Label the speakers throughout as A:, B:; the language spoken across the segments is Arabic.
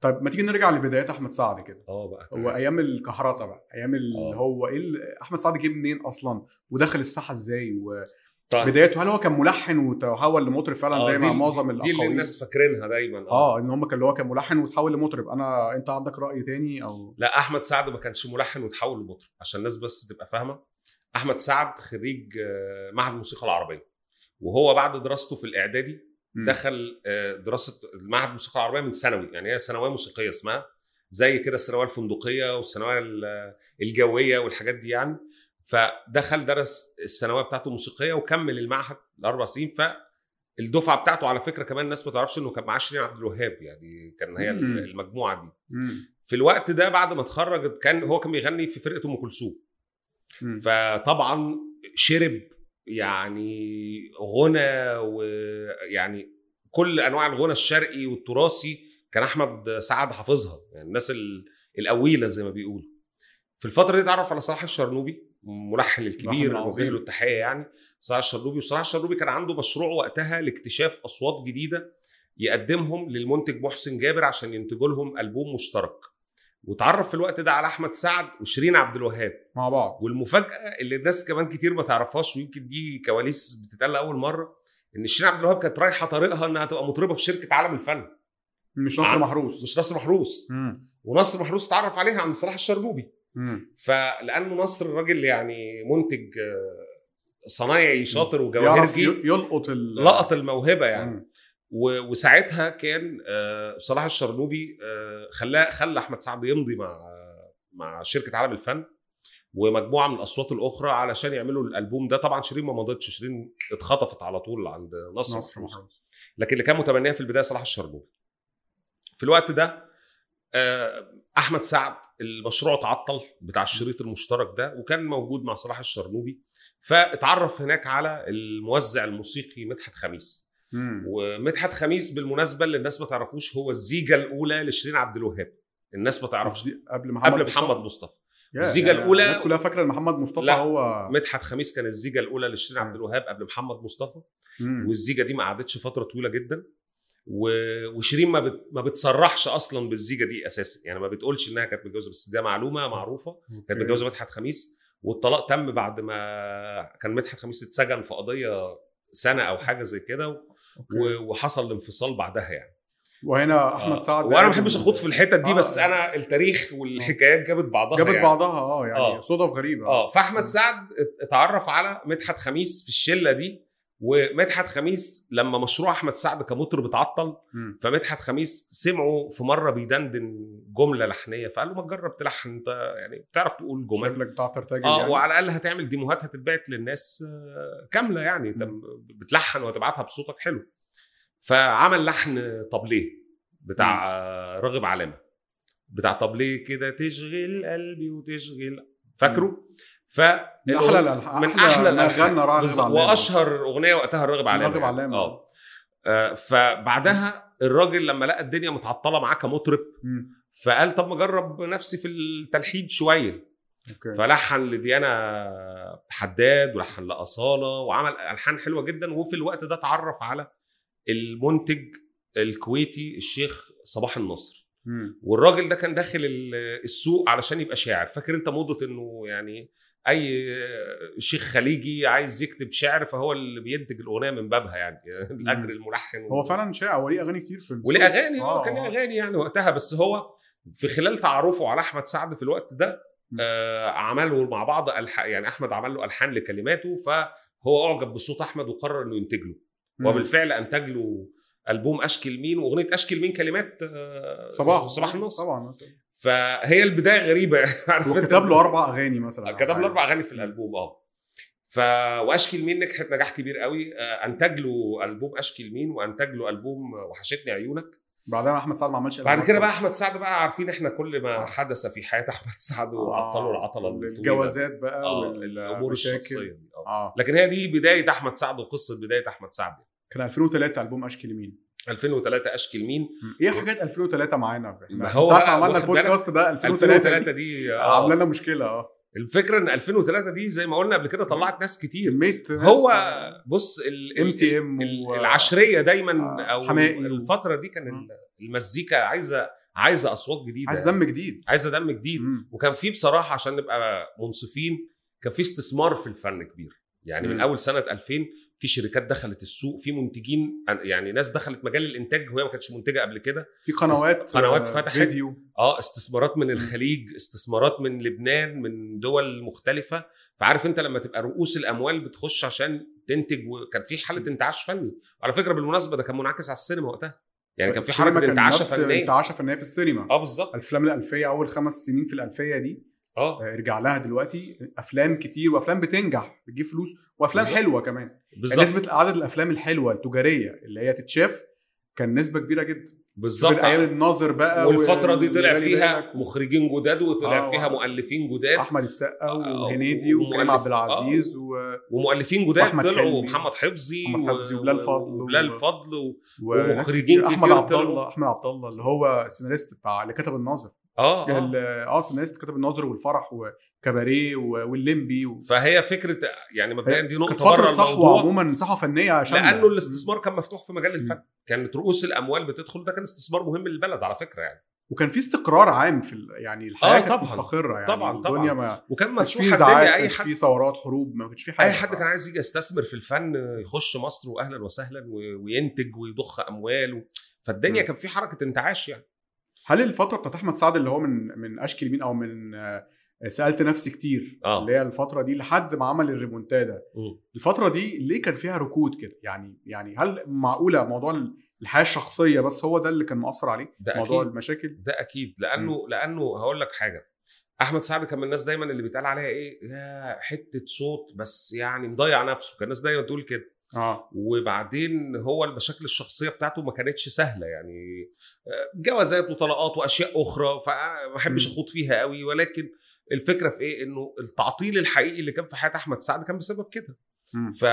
A: طيب ما تيجي نرجع لبدايات احمد سعد كده
B: اه بقى
A: هو ايام الكهرطه بقى ايام اللي
B: آه.
A: هو ايه اللي- احمد سعد جه منين اصلا ودخل الساحه ازاي وبدايته
B: طيب.
A: هل هو كان ملحن وتحول لمطرب فعلا
B: آه،
A: زي
B: دي
A: ما
B: ال-
A: معظم
B: دي اللي
A: الأقاويل؟
B: الناس فاكرينها آه. دايما
A: اه ان هم كان اللي هو كان ملحن وتحول لمطرب انا انت عندك راي تاني او
B: لا احمد سعد ما كانش ملحن وتحول لمطرب عشان الناس بس تبقى فاهمه احمد سعد خريج آه، معهد الموسيقى العربيه وهو بعد دراسته في الاعدادي
A: مم.
B: دخل آه، دراسه معهد الموسيقى العربيه من ثانوي يعني هي ثانويه موسيقيه اسمها زي كده الثانويه الفندقيه والثانويه ال- الجويه والحاجات دي يعني فدخل درس الثانويه بتاعته موسيقيه وكمل المعهد الاربع سنين فالدفعه بتاعته على فكره كمان الناس ما تعرفش انه كان معاه شيرين عبد الوهاب يعني كان هي
A: مم.
B: المجموعه دي
A: مم.
B: في الوقت ده بعد ما اتخرج كان هو كان بيغني في فرقه ام كلثوم
A: مم.
B: فطبعا شرب يعني غنى ويعني كل انواع الغنى الشرقي والتراثي كان احمد سعد حافظها يعني الناس ال- الاويله زي ما بيقولوا في الفتره دي اتعرف على صلاح الشرنوبي ملحن الكبير
A: ملحن عظيم.
B: وجه له التحيه يعني صلاح الشرنوبي وصلاح الشرنوبي كان عنده مشروع وقتها لاكتشاف اصوات جديده يقدمهم للمنتج محسن جابر عشان ينتجوا لهم البوم مشترك وتعرف في الوقت ده على احمد سعد وشيرين عبد الوهاب
A: مع بعض
B: والمفاجاه اللي الناس كمان كتير ما تعرفهاش ويمكن دي كواليس بتتقال اول مره ان شيرين عبد الوهاب كانت رايحه طريقها انها تبقى مطربه في شركه عالم الفن
A: مش نصر
B: عن-
A: محروس
B: مش نصر محروس
A: مم.
B: ونصر محروس اتعرف عليها عند صلاح الشرنوبي
A: مم.
B: فلانه نصر راجل يعني منتج آه، صنايعي شاطر وجواهري
A: يعرف
B: فيه
A: ي- يلقط ال
B: لقط الموهبه يعني
A: مم.
B: و- وساعتها كان آه، صلاح الشرنوبي آه، خلاه خلى احمد سعد يمضي مع مع شركه عالم الفن ومجموعه من الاصوات الاخرى علشان يعملوا الالبوم ده طبعا شيرين ما مضتش شيرين اتخطفت على طول عند نصر,
A: نصر
B: محروس.
A: محروس
B: لكن اللي كان متبنيها في البدايه صلاح الشرنوبي في الوقت ده آه، احمد سعد المشروع اتعطل بتاع الشريط المشترك ده وكان موجود مع صلاح الشرنوبي فاتعرف هناك على الموزع الموسيقي مدحت خميس
A: مم.
B: ومدحت خميس بالمناسبه اللي الناس ما تعرفوش هو الزيجه الاولى لشيرين عبد الوهاب الناس ما تعرفش
A: قصدي قبل محمد
B: قبل محمد مصطفى
A: يا،
B: الزيجة
A: يعني
B: الأولى-
A: الناس كلها فاكره ان محمد مصطفى
B: لا.
A: هو
B: مدحت خميس كان الزيجه الاولى لشيرين عبد الوهاب قبل محمد مصطفى
A: مم.
B: والزيجه دي ما قعدتش فتره طويله جدا و- وشيرين ما, بت... ما بتصرحش اصلا بالزيجه دي اساسا يعني ما بتقولش انها كانت متجوزه بس ده معلومه معروفه كانت
A: أوكي.
B: متجوزه مدحت خميس والطلاق تم بعد ما كان مدحت خميس اتسجن في قضيه سنه او حاجه زي كده و...
A: أوكي.
B: وحصل الانفصال بعدها يعني
A: وهنا احمد سعد
B: وانا آه، ما
A: قدم-
B: بحبش اخوض في الحتت دي
A: يعني. آه.
B: بس انا التاريخ والحكايات جابت بعضها
A: جابت
B: يعني.
A: بعضها اه يعني
B: آه.
A: صدف غريبه
B: اه فاحمد سعد اتعرف على مدحت خميس في الشله دي ومدحت خميس لما مشروع احمد سعد كمطرب اتعطل
A: مم.
B: فمدحت خميس سمعه في مره بيدندن جمله لحنيه فقال له ما تجرب تلحن انت يعني بتعرف تقول جمل
A: شكلك بتعرف ترتجل
B: اه
A: يعني.
B: وعلى الاقل هتعمل ديموهات هتتبعت للناس آه، كامله يعني انت
A: مم.
B: بتلحن وهتبعتها بصوتك حلو فعمل لحن طبليه بتاع آه، راغب علامه بتاع طبليه كده تشغل قلبي وتشغل فاكره ف
A: من احلى الالحان
B: من احلى
A: ما
B: الالحان
A: غنى راغب
B: بالظبط.
A: علامة.
B: واشهر اغنيه وقتها الراغب علامه
A: راغب
B: يعني.
A: علامة.
B: اه آه، فبعدها الراجل لما لقى الدنيا متعطله معاه كمطرب
A: مم.
B: فقال طب ما اجرب نفسي في التلحين شويه
A: اوكي
B: فلحن لديانا حداد ولحن لأصالة وعمل ألحان حلوة جدا وفي الوقت ده اتعرف على المنتج الكويتي الشيخ صباح النصر
A: مم.
B: والراجل ده كان داخل ال- السوق علشان يبقى شاعر فاكر انت موضة انه يعني اي شيخ خليجي عايز يكتب شعر فهو اللي بينتج الاغنيه من بابها يعني الاجر الملحن
A: هو فعلا شاع وليه اغاني كتير في الفيلم.
B: وليه اغاني اه
A: آه،
B: كان ليه
A: آه.
B: اغاني يعني وقتها بس هو في خلال تعرفه على احمد سعد في الوقت ده آه عملوا مع بعض الح... يعني احمد عمل له الحان لكلماته فهو اعجب بصوت احمد وقرر انه ينتج له
A: مم.
B: وبالفعل انتج له البوم اشكي مين واغنيه اشكي مين كلمات آه
A: صباح
B: صباح النصر
A: طبعا
B: فهي البدايه غريبه عارف انت؟
A: وكتب له اربع اغاني مثلا
B: كتب له اربع اغاني في الالبوم اه ف واشكي لمين نجحت نجاح كبير قوي آه، انتج له البوم اشكي لمين وانتج له البوم وحشتني عيونك
A: بعدها احمد سعد ما آه. عملش
B: بعد
A: ألبوم
B: كده بقى
A: أصلاً.
B: احمد سعد بقى عارفين احنا كل ما حدث في حياه احمد سعد وعطلوا العطله
A: آه،
B: الطويلة.
A: الجوازات بقى
B: آه، الامور
A: والمشاكل
B: الشخصيه دي آه.
A: اه
B: لكن هي دي بدايه احمد سعد وقصه بدايه احمد سعد
A: كان 2003 البوم اشكي لمين
B: 2003 اشكل مين
A: ايه حاجات 2003 معانا
B: ما
A: احنا
B: هو
A: ساعة ما
B: بقى
A: عملنا
B: واخد بالك،
A: البودكاست ده 2003
B: 2003 دي آه.
A: عامله لنا مشكله اه
B: الفكره ان 2003 دي زي ما قلنا قبل كده طلعت ناس كتير
A: كميه
B: هو
A: يعني.
B: بص ال-
A: ام
B: ال-
A: آه. تي ام
B: ال- العشريه دايما
A: آه،
B: او
A: حماقي و-
B: الفتره دي كان
A: مم.
B: ال- المزيكا عايزه عايزه اصوات جديده
A: عايز دم جديد
B: عايزه دم جديد
A: مم.
B: وكان في بصراحه عشان نبقى منصفين كان في استثمار في الفن كبير يعني من
A: مم.
B: اول سنه 2000 في شركات دخلت السوق في منتجين يعني ناس دخلت مجال الانتاج وهي ما كانتش منتجه قبل كده
A: في قنوات
B: قنوات
A: آه،
B: فتحت.
A: فيديو
B: اه استثمارات من
A: مم.
B: الخليج استثمارات من لبنان من دول مختلفه فعارف انت لما تبقى رؤوس الاموال بتخش عشان تنتج وكان في حاله انتعاش فني وعلى فكره بالمناسبه ده كان منعكس على السينما وقتها يعني كان في
A: السينما
B: حركه
A: كان
B: انتعاشه
A: نفس
B: فنيه
A: انتعاشه فنيه في السينما
B: اه بالظبط
A: الافلام الالفيه اول خمس سنين في الالفيه دي آه،
B: اه
A: ارجع لها دلوقتي افلام كتير وافلام بتنجح بتجيب فلوس وافلام
B: بالظبط.
A: حلوه كمان
B: بالظبط
A: نسبه عدد الافلام الحلوه التجاريه اللي هي تتشاف كان نسبه كبيره جدا
B: بالظبط
A: في ايام الناظر بقى
B: والفتره دي طلع
A: واللي بالي
B: فيها
A: بالك و-
B: مخرجين جداد وطلع
A: آه.
B: فيها مؤلفين جداد
A: احمد السقا
B: آه،
A: وهنيدي وكريم
B: ومؤلف- آه.
A: عبد العزيز و...
B: ومؤلفين جداد
A: وأحمد حلمي.
B: طلعوا ومحمد حفظي
A: محمد حفظي وبلال فضل و-
B: وبلال فضل و...
A: وناس
B: ومخرجين
A: كتير. احمد
B: كتير
A: عبد
B: طلعوا.
A: الله احمد عبد الله اللي هو السيناريست بتاع اللي كتب الناظر
B: اه, آه.
A: ال- اه السيناريست كتب الناظر والفرح وكباريه و- واللمبي و...
B: فهي فكره يعني مبدئيا دي
A: كانت
B: نقطه بره
A: فتره صحوه
B: الموضوع
A: عموما صحوه فنيه عشان
B: لانه الاستثمار كان مفتوح في مجال الفن كانت رؤوس الاموال بتدخل ده كان استثمار مهم للبلد على فكره يعني
A: وكان في استقرار عام في ال- يعني الحياه
B: آه،
A: آه كانت
B: طبعاً.
A: مستقره يعني
B: طبعاً، طبعاً.
A: الدنيا ما
B: وكان
A: كانش في
B: مفتوح الدنيا
A: ازعاج ما
B: اي
A: كانش
B: حد
A: في ثورات حروب ما كانش في حاجه
B: اي حد كان عايز يجي يستثمر في الفن يخش مصر واهلا وسهلا و- وينتج ويضخ اموال و... فالدنيا
A: مم.
B: كان في حركه انتعاش يعني
A: هل الفتره بتاعت احمد سعد اللي هو من من اشكي اليمين او من آه، سالت نفسي كتير
B: آه.
A: اللي هي الفتره دي لحد ما عمل الريمونتادا الفتره دي ليه كان فيها ركود كده يعني يعني هل معقوله موضوع ال- الحياه الشخصيه بس هو ده اللي كان مأثر عليه
B: ده
A: موضوع
B: اكيد
A: المشاكل
B: ده اكيد لانه لانه هقول لك حاجه احمد سعد كان من الناس دايما اللي بيتقال عليها ايه يا حته صوت بس يعني مضيع نفسه كان الناس دايما تقول كده
A: اه
B: وبعدين هو المشاكل الشخصيه بتاعته ما كانتش سهله يعني آه، جوازات وطلاقات واشياء اخرى فانا ما بحبش
A: مم.
B: اخوض فيها قوي ولكن الفكره في ايه انه التعطيل الحقيقي اللي كان في حياه احمد سعد كان بسبب كده
A: مم.
B: ف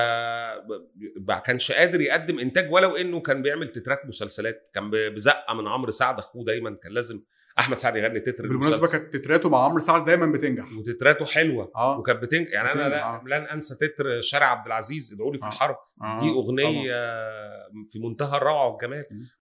B: ما كانش قادر يقدم انتاج ولو انه كان بيعمل تترات مسلسلات كان ب- بزقه من عمرو سعد اخوه دايما كان لازم احمد سعد يغني تتر
A: بالمناسبه
B: المسلسل
A: كانت تتراته مع عمرو سعد دايما بتنجح
B: وتتراته حلوه
A: اه
B: وكانت بتنج يعني انا
A: بتنجح،
B: لا- لن انسى تتر شارع عبد العزيز ادعوا لي في
A: آه.
B: الحرب
A: آه،
B: دي اغنيه
A: طبعاً.
B: في منتهى الروعه والجمال
A: مم.